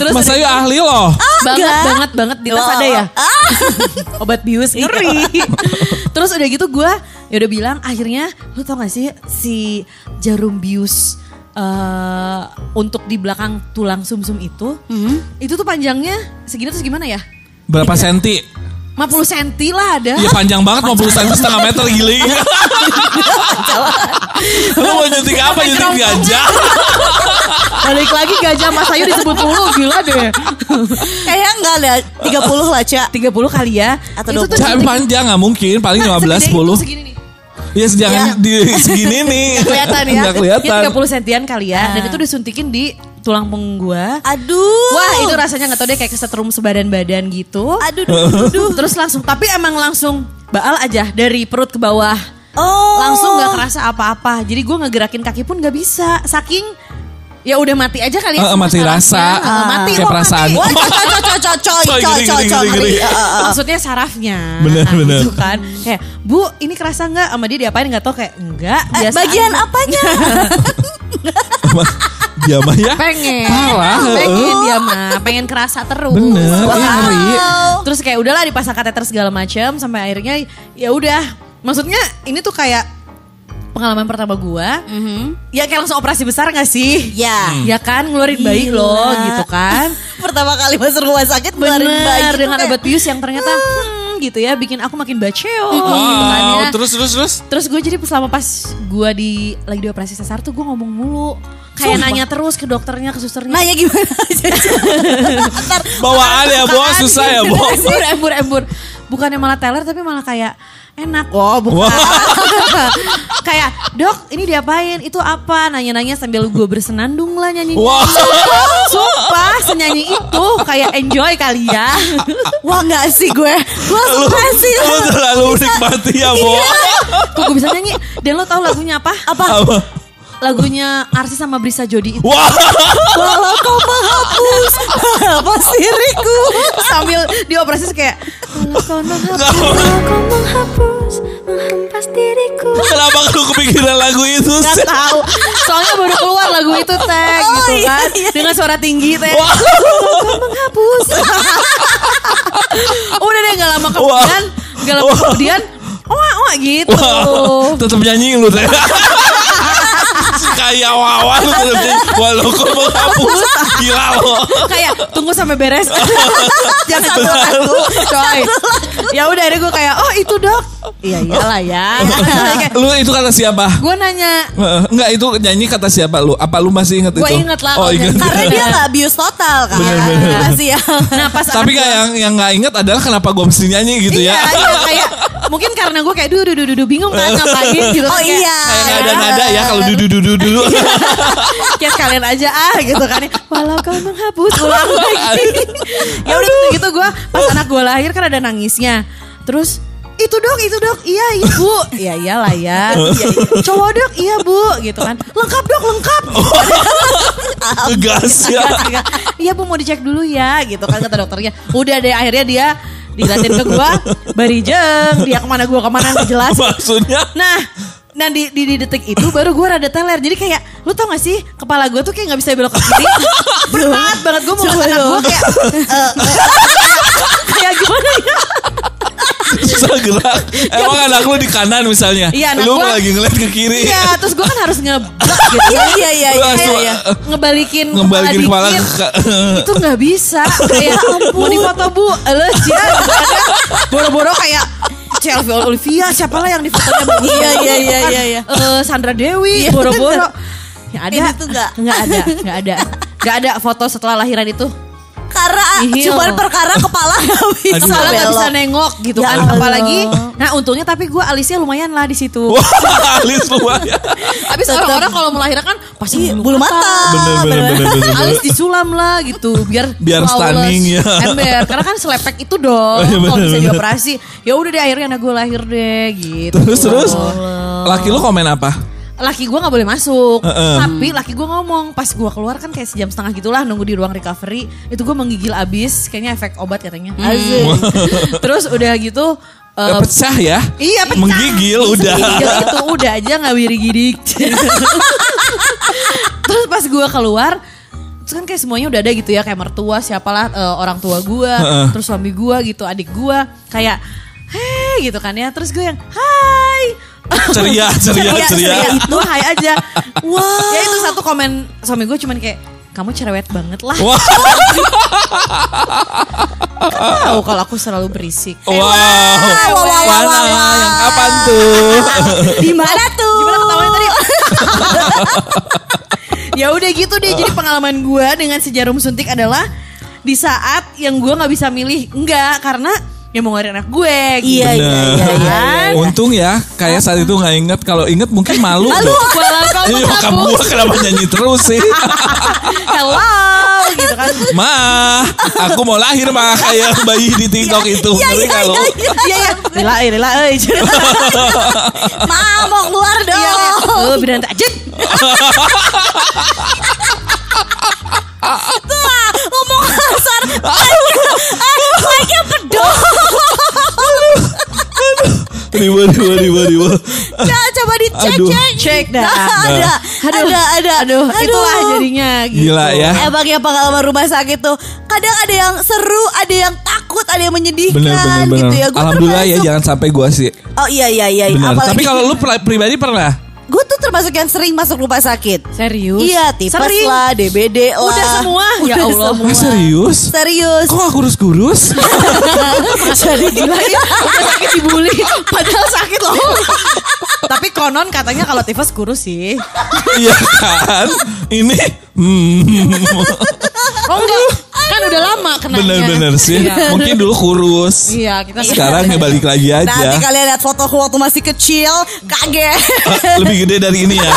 S6: Terus
S5: Mas Ayu ahli loh.
S6: banget
S7: Enggak.
S6: banget banget di tas
S7: Loh.
S6: ada ya
S7: Ah,
S6: obat bius ngeri terus udah gitu gue ya udah bilang akhirnya lu tau gak sih si jarum bius eh, untuk di belakang tulang sumsum itu itu tuh panjangnya segini terus gimana ya
S5: Berapa senti?
S6: 50 cm lah ada
S5: Iya panjang banget 50 senti setengah meter gila. ya. Lu mau nyuntik apa? Nyuntik gajah.
S6: balik lagi gajah mas Ayu disebut mulu gila deh
S7: Kayaknya enggak lah 30 lah, Cak.
S6: 30 kali ya
S7: Atau
S6: itu tuh
S5: Jangan
S6: suntik-
S5: panjang nggak mungkin, paling 15
S6: Nah, segede itu,
S5: 10.
S6: segini nih.
S5: Ya jangan
S7: Ya.
S5: di segini nih.
S6: kelihatan ya.
S5: Nggak kelihatan.
S6: Ya 30 sentian kali ya. Dan itu disuntikin di tulang punggung gua.
S7: Aduh.
S6: Wah itu rasanya gak tau deh kayak kesetrum sebadan-badan gitu.
S7: Aduh, duh, duh, duh.
S6: Terus langsung, tapi emang langsung baal aja dari perut ke bawah.
S7: Oh.
S6: Langsung gak kerasa apa-apa. Jadi gua ngegerakin kaki pun gak bisa. Saking ya udah mati aja kali ya.
S5: Eh, eh, mati
S6: sarafnya.
S5: rasa.
S6: Eh, mati
S5: Kayak
S6: loh,
S5: perasaan.
S6: mati.
S7: Wah, Oh, coy, coy, coy, coy, coy,
S5: Coy,
S7: coy,
S5: geli,
S7: coy,
S5: geli,
S7: coy,
S5: geli,
S7: ngeri.
S5: geli.
S7: Eh, eh, eh.
S6: Maksudnya sarafnya.
S5: Bener,
S6: Nah,
S5: bener.
S6: gitu kan. Kayak, bu ini kerasa gak sama dia diapain? Gak tau kayak enggak.
S7: Eh,
S6: biasa
S7: Bagian
S6: aja."
S7: apanya?
S5: Dia mah ya.
S6: pengen
S5: Parah,
S6: pengen dia mah pengen kerasa terus
S5: Bener,
S6: Wah.
S5: iya, ngeri.
S6: terus kayak udahlah dipasang kateter segala macam sampai akhirnya ya udah maksudnya ini tuh kayak pengalaman pertama gua
S7: Mm-hmm.
S6: ya kayak langsung operasi besar gak sih
S7: Ya.
S6: ya kan ngeluarin bayi
S7: Gila.
S6: loh gitu kan
S7: Pertama kali masuk rumah sakit
S6: bener
S7: ngeluarin bayi tuh
S6: dengan
S7: kayak,
S6: obat bius yang ternyata hmm, gitu ya bikin aku makin baceo
S7: Mm-hmm.
S6: gitu kan
S5: Wow,
S6: ya.
S5: terus terus terus.
S6: Terus gue jadi selama pas gue di lagi di operasi sesar tuh gue ngomong mulu. Kayak
S7: Sumpah.
S6: nanya terus ke dokternya, ke susternya.
S7: Nanya gimana aja. Ntar
S5: Bawaan ya, bos susah ya, bos.
S6: Embur, embur, embur. Bukannya malah teler tapi malah kayak enak. Oh
S5: Wah.
S6: bukan. kayak dok ini diapain? Itu apa? Nanya-nanya sambil gue bersenandung lah nyanyi.
S5: Wah.
S6: Sumpah senyanyi itu kayak enjoy kali ya.
S7: Wah nggak sih gue Gue
S5: Lu,
S7: langsung kasih
S5: lu terlalu
S6: Iya.
S5: menikmati ya, Bo.
S6: Kok gue bisa nyanyi? Dan lo tau lagunya apa?
S7: Iya. Apa?
S5: Apa?
S6: Lagunya Arsi sama Brisa Jodi itu.
S5: Wah,
S7: Walau kau menghapus Apa siriku
S6: sambil dioperasi terus kayak "Kalau kau menghapus,
S8: Kau menghapus, menghempas diriku
S5: kenapa lu kepikiran lagu itu
S6: Gak
S5: sih?
S6: tahu. Soalnya baru keluar lagu itu tag
S7: Oh,
S6: gitu
S7: iya,
S6: kan.
S7: iya.
S6: Dengan suara tinggi tag.
S5: Wah.
S6: menghapus. Udah deh gak lama kemudian. Gak lama
S5: Wah.
S6: kemudian. Wah, wah gitu.
S5: Wah, tetap nyanyi lu teh. Kayak wawan lu tetap nyanyi. Walau kau menghapus. Gila lo.
S6: kayak tunggu sampai beres jangan satu satu coy ya udah akhirnya gue kayak oh itu dok iya iyalah ya
S7: Iya,
S5: Lu itu kata siapa?
S6: gue nanya
S5: Eh, Enggak itu nyanyi kata siapa lu? Apa lu masih inget itu?
S6: Gua inget lah
S5: Oh
S6: kalau
S5: inget.
S6: nyanyi.
S7: Karena dia nggak abuse total kan Masih ya
S6: nah pas
S5: Tapi kayak
S6: anak gua-
S5: yang yang nggak inget adalah kenapa gue mesti nyanyi gitu
S6: Iya,
S5: ya?
S6: iya, kayak mungkin karena gue kayak duh duh duh duh, duh bingung kan ngapain gitu.
S7: Oh
S6: Kayak,
S7: iya
S5: Kayak nggak ada nada ya kalau dudu dudu dulu.
S6: Iya. Kayak sekalian aja ah gitu kan. Walau kau menghapus ulang lagi. ya udah gitu, gitu gue pas anak gue lahir kan ada nangisnya. Terus itu dok, itu dok, iya ibu, iya iyalah ya, iya, iya. cowok dok, iya bu, gitu kan, lengkap dok, lengkap,
S5: Ngegas ya.
S6: Iya, iya bu mau dicek dulu ya gitu kan kata dokternya. Udah deh akhirnya dia dilatih ke gua, barijeng, dia kemana gua kemana nggak jelas.
S5: Maksudnya
S6: Nah, nah di, di, di detik itu baru gue rada teler. Jadi kayak, lu tau gak sih kepala gue tuh kayak gak bisa belok ke kiri. Berat banget gue mau ngeliat anak gue kayak, eh, eh, kayak gimana ya?
S5: susah gerak. Emang anak lu di kanan misalnya.
S6: Iya, anak
S5: lu
S6: gua-
S5: lagi ngeliat ke kiri.
S6: Iya, terus gue kan harus ngeblok gitu.
S7: Iya iya iya
S5: Lu
S7: iya,
S5: langsung-
S7: iya.
S6: Ngebalikin,
S5: Ngebalikin kepala
S6: dikit.
S5: ke-
S6: itu nggak bisa kayak mau difoto bu les ya boro-boro kayak Chelsea Olivia siapa lah yang difotonya Bu?
S7: Iya, iya, iya,
S6: Kan,
S7: iya, iya.
S6: eh, Sandra Dewi boro-boro nggak ada
S7: Ini tuh nggak.
S6: nggak ada nggak ada nggak ada foto setelah lahiran itu
S7: Karena
S6: Ihil.
S7: cuma perkara kepala nggak bisa
S6: soalnya nggak
S7: belok.
S6: bisa nengok gitu
S7: Ya
S6: kan
S7: Allah.
S6: apalagi nah untungnya tapi gue alisnya lumayan lah di situ
S5: Wah, alis lumayan.
S6: habis
S7: tetep.
S6: orang-orang kalau melahirkan kan pasti
S7: Iya,
S6: bulu
S7: Bulu mata
S5: Bener, bener, bener, bener, bener.
S6: alis disulam lah gitu biar
S5: Biar
S6: flawless.
S5: stunning, ya.
S6: ember karena kan selepek itu dong
S5: Oh, iya,
S6: kalau
S5: bener,
S6: bisa
S5: bener.
S6: dioperasi ya udah deh akhirnya anak gue lahir deh gitu
S5: Terus terus laki lu komen apa?
S6: laki gue nggak boleh masuk
S5: Heeh.
S6: tapi laki gue ngomong pas gue keluar kan kayak sejam setengah gitulah nunggu di ruang recovery itu gue menggigil abis kayaknya efek obat katanya
S5: Hmm.
S6: Asik. terus udah gitu
S5: Ya,
S6: eh,
S5: pecah ya?
S6: Iya pecah.
S5: Menggigil udah.
S6: Menggigil itu udah aja nggak wirigidik. Terus pas gue keluar, terus kan kayak semuanya udah ada gitu ya, kayak mertua, siapalah eh, orang tua gue,
S5: Heeh.
S6: terus suami gue gitu, adik gue, kayak hei gitu kan ya. Terus gue yang hai.
S5: Ceria, ceria, ceria.
S6: Itu hai aja. Wah. Ya itu satu komen suami gue cuman kayak kamu cerewet banget lah.
S5: Wah.
S6: Tahu kalau aku selalu berisik.
S5: Wow. Mana yang kapan tuh?
S6: iya,
S7: Di mana tuh?
S6: Gimana ketawanya tadi? ya udah gitu deh. Jadi pengalaman gue dengan si jarum suntik adalah di saat yang gue nggak bisa milih enggak karena ya mau ngeluarin anak gue. Gitu.
S7: Iya, iya, iya, iya, iya.
S5: Untung ya, kayak saat itu nggak inget. Kalau inget mungkin malu.
S6: Lalu
S5: dong.
S6: walau kau
S5: Iya, kamu
S6: menghapus,
S5: kenapa nyanyi terus sih?
S6: hello gitu kan.
S5: Ma, aku mau lahir ma kayak bayi di TikTok itu. Ngeri nggak lo?
S6: Iya ya. Lila, eh, lila, eh.
S7: Ma, mau keluar dong.
S6: Iya, kayak, Oh, bidan takjub.
S7: Wah, ngomong kasar. Aduh, kayak pedot.
S5: Riwa, riwa, riwa, riwa.
S7: Ca- Coba dicek,
S5: Aduh.
S7: cek. Nah,
S6: Cek dah. Nah.
S7: Ada,
S6: Aduh,
S7: ada, ada.
S6: Aduh, Oh, itulah jadinya gitu.
S5: Gila ya.
S7: Emang ya pengalaman rumah sakit tuh kadang ada yang seru, ada yang takut, ada yang menyedihkan
S5: Bener, bener, bener.
S7: gitu ya. Gua
S5: Alhamdulillah ya
S7: termasuk-
S5: jangan sampai gua sih.
S7: Oh iya iya iya.
S5: Benar.
S7: Apalagi
S5: Tapi kalau lu pri- pribadi pernah?
S7: gue tuh termasuk yang sering masuk rumah sakit.
S6: Serius?
S7: Iya, tipes
S6: Sering.
S7: lah, DBD lah.
S6: Udah semua. Ya
S7: Udah
S6: Allah.
S7: semua.
S5: Wah "Ah, serius?
S7: Serius.
S5: Kok aku harus kurus?
S6: Jadi gila ya, udah sakit dibully, padahal sakit loh. Tapi konon katanya kalau tifus kurus sih.
S5: Iya kan? Ini hmm,
S6: Oh enggak, kan udah lama kenanya.
S5: bener-bener sih.
S6: Iya.
S5: Mungkin dulu kurus.
S6: Iya, kita
S5: Sekarang ya balik lagi
S7: Nanti
S5: aja.
S7: kalian lihat foto waktu masih kecil, kaget.
S5: Lebih gede dari ini ya.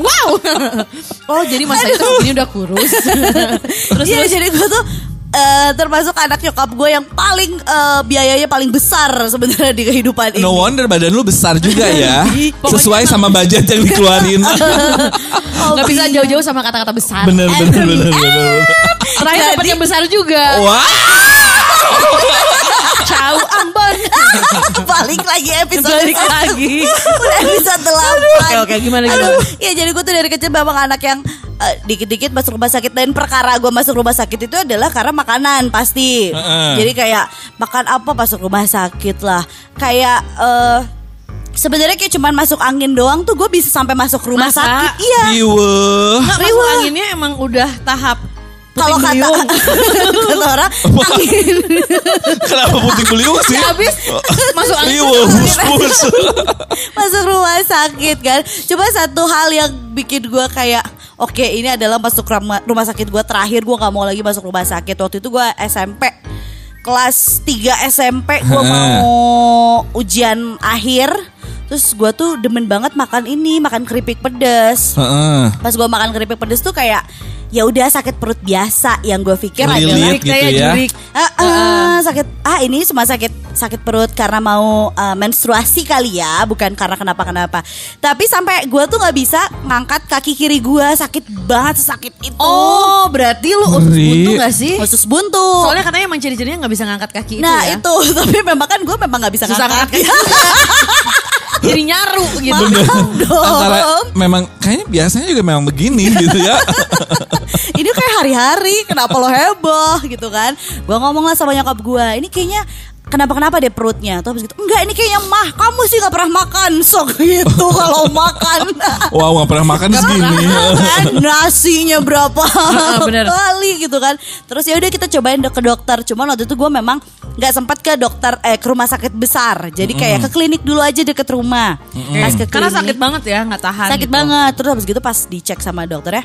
S6: Wow. Oh jadi masa itu ini udah kurus. terus
S7: Iya,
S6: terus
S7: jadi gue tuh eh, termasuk anak nyokap gue yang paling eh, biayanya paling besar sebenarnya di kehidupan ini.
S5: No wonder badan lu besar juga ya.
S6: Pokoknya
S5: Sesuai sama budget yang dikeluarin.
S6: nggak bisa jauh-jauh sama kata-kata besar. Eh,
S5: Bener, bener, bener, bener.
S6: Terakhir dapat yang besar juga.
S5: Wah, Oh.
S6: Cau Ambon.
S7: Balik lagi episode
S6: Balik
S7: satu.
S6: lagi.
S7: Udah episode delapan.
S6: Oke, oke, gimana, gimana?
S7: Aduh, Ya jadi gue tuh dari kecil memang anak yang eh, dikit-dikit masuk rumah sakit dan perkara gue masuk rumah sakit itu adalah karena makanan pasti.
S5: Heeh.
S7: Jadi kayak makan apa masuk rumah sakit lah. Kayak eh sebenarnya kayak cuman masuk angin doang tuh gue bisa sampai masuk rumah
S6: Masa?
S7: sakit. Iya.
S5: iwe.
S6: Nggak, masuk anginnya emang udah tahap puting
S7: Kalau kata
S6: beliung.
S7: kata orang angin
S5: Kenapa puting beliung sih?
S6: Ya, habis masuk angin.
S5: Iwe, bus-bus.
S7: masuk rumah sakit kan. Cuma satu hal yang bikin gue kayak oke ini adalah masuk rumah, rumah sakit gue terakhir gue nggak mau lagi masuk rumah sakit. Waktu itu gue SMP kelas 3 SMP gue
S5: Heeh.
S7: mau ujian akhir. Terus gue tuh demen banget makan ini makan keripik pedas.
S5: Heeh.
S7: Pas gue makan keripik pedas tuh kayak ya udah sakit perut biasa yang gue pikir
S5: Relief
S7: adalah
S5: gitu ya.
S7: Ah, ah, sakit ah ini cuma sakit sakit perut karena mau ah, menstruasi kali ya bukan karena kenapa kenapa tapi sampai gue tuh nggak bisa ngangkat kaki kiri gue sakit banget sakit itu
S6: Oh, berarti lu usus
S5: Ngeri.
S6: buntu gak sih?
S7: khusus buntu
S6: Soalnya katanya emang ciri-cirinya gak bisa ngangkat kaki itu
S7: nah
S6: ya.
S7: itu tapi memang kan gue memang nggak bisa
S6: Susah ngangkat
S7: ngangkat
S6: kaki. Jadi nyaru gitu.
S7: Maaf
S5: Antara
S7: dong
S5: memang kayaknya biasanya juga memang begini gitu ya.
S7: ini kayak hari-hari kenapa lo heboh gitu kan gua ngomong lah sama nyokap gua ini kayaknya kenapa-kenapa deh perutnya terus habis gitu enggak ini kayaknya mah kamu sih nggak pernah makan sok gitu kalau makan
S5: Wow, nggak pernah makan segini.
S7: Kan, nasinya berapa
S6: Heeh, bener.
S7: kali gitu kan terus ya udah kita cobain dok- ke dokter cuman waktu itu gua memang nggak sempat ke dokter eh ke rumah sakit besar jadi kayak ke klinik dulu aja deket rumah Pas ke
S6: Karena
S7: klinik-
S6: sakit banget ya, gak tahan.
S7: sakit
S6: gitu.
S7: banget terus habis gitu pas dicek sama dokter ya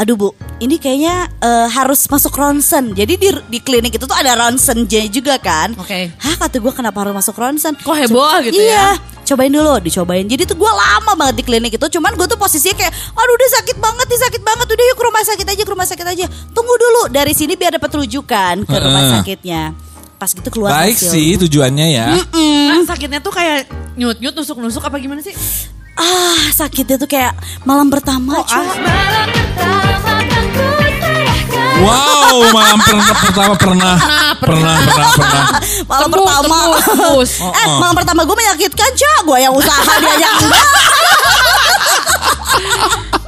S7: aduh bu ini kayaknya eh, harus masuk ronsen jadi di di klinik itu tuh ada ronsennya juga kan
S6: Oke.
S7: hah kata gue kenapa harus masuk ronsen
S6: Kok heboh gitu
S7: iya cobain dulu dicobain jadi tuh gue lama banget di klinik itu cuman gue tuh posisinya kayak aduh udah sakit banget nih sakit banget udah yuk ke rumah sakit aja ke rumah sakit aja tunggu dulu dari sini biar dapat rujukan ke rumah
S5: Heeh.
S7: sakitnya pas gitu keluar
S5: Baik
S7: hasil.
S5: sih tujuannya ya.
S6: Nah, sakitnya tuh kayak nyut-nyut, nusuk-nusuk apa gimana sih?
S7: ah sakitnya tuh kayak malam pertama cuy.
S6: Ah.
S8: Malam pertama kan ku serahkan
S5: Wow, malam pernah pertama pernah pernah pernah pernah. Oh,
S7: Malam
S6: Tembus,
S7: pertama
S6: tembus, tembus.
S7: Eh malam pertama gue menyakitkan Cak Gue yang usaha dia yang enggak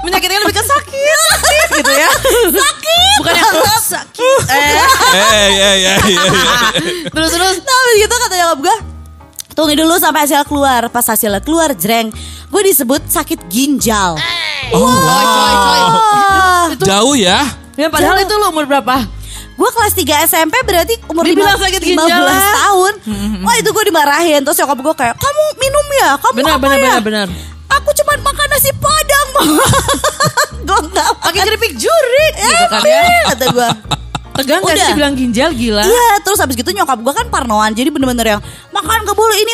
S6: Menyakitkan lebih ke sakit, sakit gitu ya. Sakit. Bukan yang sakit. Eh.
S5: Eh, ya, ya, ya.
S6: Terus terus.
S7: Nah abis gitu kata nyokap gue Tunggu dulu sampai hasil keluar Pas hasilnya keluar jreng Gue disebut sakit ginjal Ah.
S5: Oh,
S6: Coy, coy, coy.
S7: Wah.
S6: Itu,
S5: Jauh ya.
S6: ya, padahal itu lo umur berapa?
S7: Gue kelas 3 SMP berarti umur
S6: Dibilang
S7: 15
S6: sakit Mm-hmm.
S7: 15
S6: ginjalan.
S7: tahun Wah itu gue dimarahin Terus nyokap gue kayak Kamu minum ya? Kamu
S6: Benar,
S7: apa
S6: benar,
S7: ya?
S6: benar, benar.
S7: Aku cuma makan nasi padang Gue gak
S6: Pakai keripik jurik Eh. gitu kan ya.
S7: Ember Eh, kata gue
S6: Tegang gak
S7: Udah.
S6: sih bilang ginjal gila?
S7: Iya terus habis gitu nyokap gue kan parnoan Jadi bener-bener yang Makan kebuli ini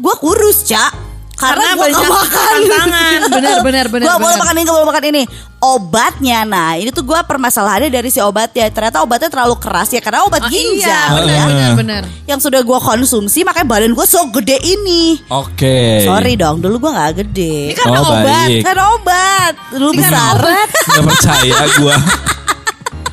S7: Gue kurus cak
S6: Karena
S7: karena, gue
S6: banyak
S7: gak makan
S6: tantangan. Benar, benar, benar,
S7: Gue boleh
S6: benar.
S7: makan ini, gak boleh makan ini Obatnya nah Ini tuh gue permasalahannya dari si obatnya Ternyata obatnya terlalu keras ya Karena obat
S6: Oh, iya,
S7: ginjal
S6: benar,
S7: ya
S6: benar, benar.
S7: Yang sudah gue konsumsi Makanya badan gue so gede ini
S5: Oke.
S7: Sorry kan dong dulu gue gak
S6: Ini
S7: gede
S5: Eh.
S6: karena
S5: Oh,
S6: obat.
S5: baik.
S7: Karena obat Dulu
S6: Ini karena
S7: besar
S6: obat.
S5: Gak percaya gua.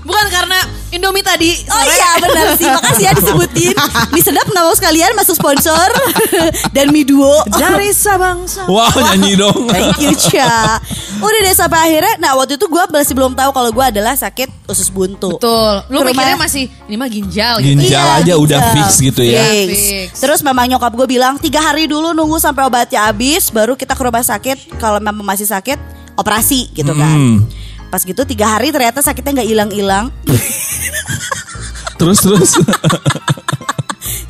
S6: Bukan karena Indomie tadi.
S7: Oh
S6: sore.
S7: iya benar sih Makasih ya disebutin Mie sedap nama sekalian masuk sponsor Dan mie duo
S6: Dari Sabang sampai
S5: Wow, nyanyi dong.
S7: Thank you Cha Udah deh sampai akhirnya Nah waktu itu gue masih belum tahu Kalau gue adalah sakit usus buntu
S6: Betul. Lu
S7: Ke rumah-
S6: mikirnya masih ini mah ginjal gitu.
S5: Ginjal. aja udah fix gitu ya.
S7: Fix.
S6: Fix.
S7: Terus memang nyokap gue bilang Tiga hari dulu nunggu sampai obatnya habis Baru kita ke rumah sakit Kalau memang masih sakit Operasi gitu kan
S5: Hmm.
S7: Pas gitu tiga hari ternyata sakitnya nggak hilang-hilang
S5: Terus terus.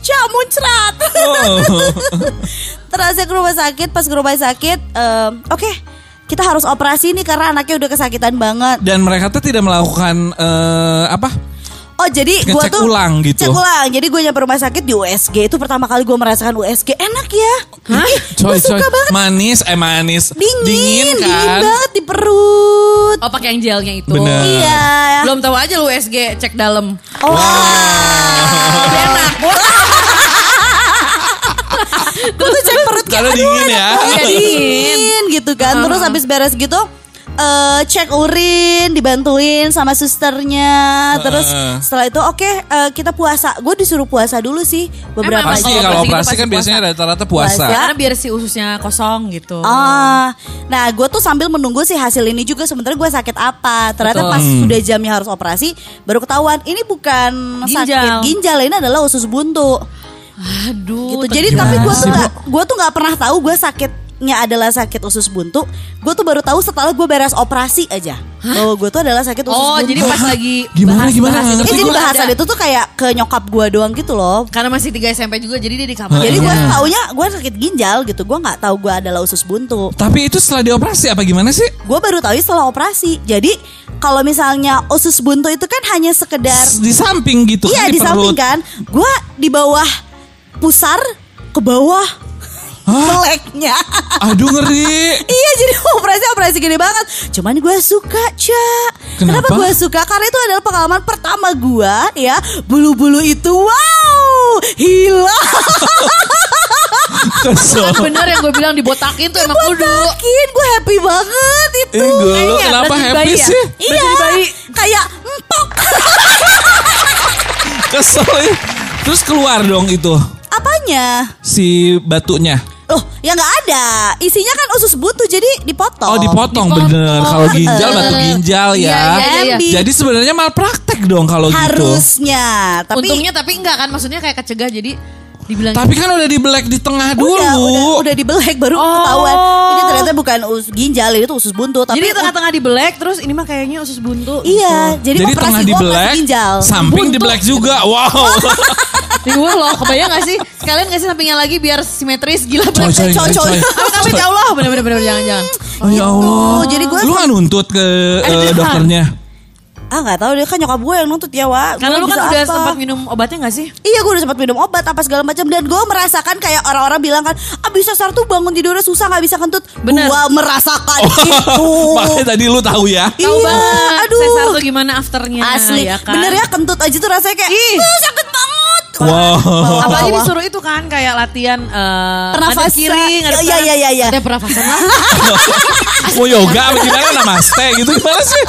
S7: Ca muncrat
S5: Oh.
S7: Terasa ke rumah sakit Pas ke rumah sakit em, Oke Kita harus operasi nih Karena anaknya udah kesakitan banget
S5: Dan mereka tuh tidak melakukan eh, apa?
S7: Oh jadi gue
S5: Ngecek
S7: tuh
S5: ulang gitu.
S7: Cek ulang Jadi gue nyampe rumah sakit di USG Itu pertama kali gue merasakan USG Enak ya Hah?
S5: Coy,
S7: suka
S5: coy.
S7: banget
S5: Manis, eh manis.
S7: Dingin
S5: dingin kan? Eh.
S7: banget di perut
S6: Oh pakai yang gelnya itu.
S5: Bener.
S7: Iya
S6: Belum tahu aja lu USG cek dalam.
S7: Wah
S6: Enak.
S7: Gue tuh cek perut kayak
S5: Karena
S7: aduh,
S5: dingin
S7: enak
S5: ya.
S7: banget,
S6: Iya, dingin.
S7: dingin gitu kan Terus habis beres gitu eh cek urin dibantuin sama susternya terus
S5: Heeh.
S7: setelah itu oke eh, kita puasa gue disuruh puasa dulu sih beberapa
S6: Emang
S5: Pasti kalau
S6: Kalau operasi gitu
S5: operasi
S6: pasti
S5: kan biasanya
S6: puasa.
S5: rata-rata puasa.
S7: Puasa.
S6: Karena biar si ususnya kosong gitu.
S7: Ah, nah gue tuh sambil menunggu sih hasil ini juga sebenarnya gue sakit apa. Ternyata
S6: Betul. Hmm.
S7: pas sudah jamnya harus operasi, baru ketahuan ini bukan sakit
S6: Ginjal.
S7: ginjal, ini adalah usus buntu.
S6: Aduh.
S7: Gitu. Jadi tapi gue tuh gak, gue tuh nggak pernah tahu gue sakitnya adalah sakit usus buntu. Gue tuh baru tahu setelah gue beres operasi aja. Bahwa gue tuh adalah sakit usus
S6: Oh
S7: buntu.
S6: jadi pas lagi
S5: Gimana, gimana?
S6: bahas
S7: Eh,
S5: Tapi
S7: jadi bahasan itu tuh kayak ke nyokap gue doang gitu loh.
S6: Karena masih 3 SMP juga jadi dia di kamar.
S7: Jadi gue taunya gue sakit ginjal gitu. Gue nggak tahu gue adalah usus buntu.
S5: Tapi itu setelah dioperasi apa gimana sih?
S7: Gue baru tahu setelah operasi. Jadi kalau misalnya usus buntu itu kan hanya sekedar
S5: S- Di samping gitu
S7: iya
S5: kan
S7: di samping
S5: perut.
S7: kan. Gue di bawah pusar ke bawah meleknya.
S5: Aduh ngeri.
S7: iya jadi operasi operasi gede banget. Cuman gue suka cak.
S5: Kenapa?
S7: gue suka? Karena itu adalah pengalaman pertama gue ya bulu-bulu itu wow hilang.
S5: Kesel.
S6: Kan bener yang gue bilang dibotakin tuh emang kudu.
S7: Makin gue happy banget itu.
S5: Eh, gue lu
S7: Kayaknya.
S5: kenapa
S6: berarti
S5: happy
S6: bayi ya?
S5: sih?
S7: Iya. Kayak empok.
S5: Kesel ya. Terus keluar dong itu
S7: Apanya?
S5: si batunya.
S7: Loh, ya nggak ada. Isinya kan usus buntu jadi dipotong.
S5: Oh, dipotong,
S6: dipotong.
S5: bener. Kalau ginjal
S7: Eh.
S5: batu ginjal ya.
S6: Iya, iya, iya,
S7: iya.
S5: Jadi sebenarnya malpraktek dong kalau gitu.
S7: Harusnya, tapi
S6: Untungnya tapi enggak kan maksudnya kayak kecegah jadi dibilang
S5: Tapi kan udah di black di tengah dulu. Oh.
S7: udah udah, udah dibelek baru ketahuan. Ini ternyata bukan usus ginjal, itu usus buntu, tapi
S6: jadi tengah-tengah dibelek terus ini mah kayaknya usus buntu. gitu.
S7: Iya, jadi,
S5: Gitu. Jadi
S7: operasi
S5: tengah
S7: gua
S5: di
S7: operasi
S5: black,
S7: ginjal.
S5: samping di
S6: Buntu.
S5: black juga. Wow.
S6: Riuh loh, kebayang gak sih? Sekalian gak sih sampingnya lagi biar simetris gila
S5: Coy,
S6: black.
S5: coy,
S7: coy,
S5: coy.
S7: coy.
S6: Apa kami ya Allah bener-bener jangan-jangan.
S5: Oh ya Allah.
S7: Gitu. Jadi gua-
S5: lu kan nuntut ke eh, dokternya.
S7: Ah nggak tahu deh kan nyokap gue yang nuntut ya wa.
S6: Karena
S7: Gua
S6: lu kan
S7: bisa
S6: udah
S7: apa.
S6: sempat minum obatnya gak sih?
S7: Iya gue udah sempat minum obat apa segala macam dan gue merasakan kayak orang-orang bilang kan abis sesar tuh bangun tidurnya susah nggak bisa kentut.
S6: Bener.
S7: Gue merasakan itu.
S5: Oh, Makanya tadi lu tahu ya.
S6: Tahu
S7: Iya,
S6: banget.
S7: aduh.
S6: Sesar tuh gimana afternya
S7: Asli,
S6: ya kan?
S7: bener ya kentut aja tuh rasanya kayak
S6: Ih.
S7: "Uh, sakit banget.
S5: Wow.
S6: Apalagi
S7: Bawah.
S6: disuruh itu kan kayak latihan eh
S7: Oh. Pernafasan.
S6: ngadep kiri, ngadep
S7: Iya, iya, iya, iya.
S6: Ada pernafasan lah.
S5: Mau Oh, yoga apa gimana namaste gitu gimana sih?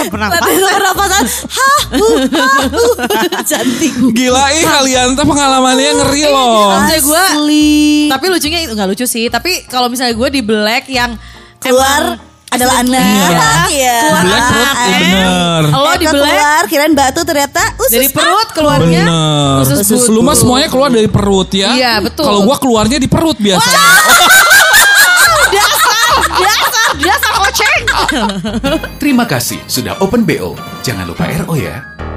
S7: Latihan pernapasan. kan? Hah, huh, hah, huh. Cantik.
S5: Gila ih kalian tuh pengalamannya ngeri loh.
S6: iya. Maksudnya gue
S7: Asli.
S6: Tapi lucunya itu nggak lucu sih. Tapi kalau misalnya gue di black yang
S7: keluar adalah anak.
S5: Iya.
S7: Iya.
S5: Belek perut,
S6: ya, Eh.
S7: Ah,
S5: bener.
S7: ah.
S6: Lo
S7: Eka
S6: dibelek.
S7: keluar, kirain batu ternyata "Uh, usus.
S6: Oh, Dari perut keluarnya.
S5: Bener.
S6: usus bulu.
S5: Lu mah semuanya keluar dari perut ya.
S6: Iya, betul.
S5: Kalau gua keluarnya di perut biasanya.
S6: Biasa, biasa koceng.
S4: Terima kasih sudah open BO. Jangan lupa RO ya.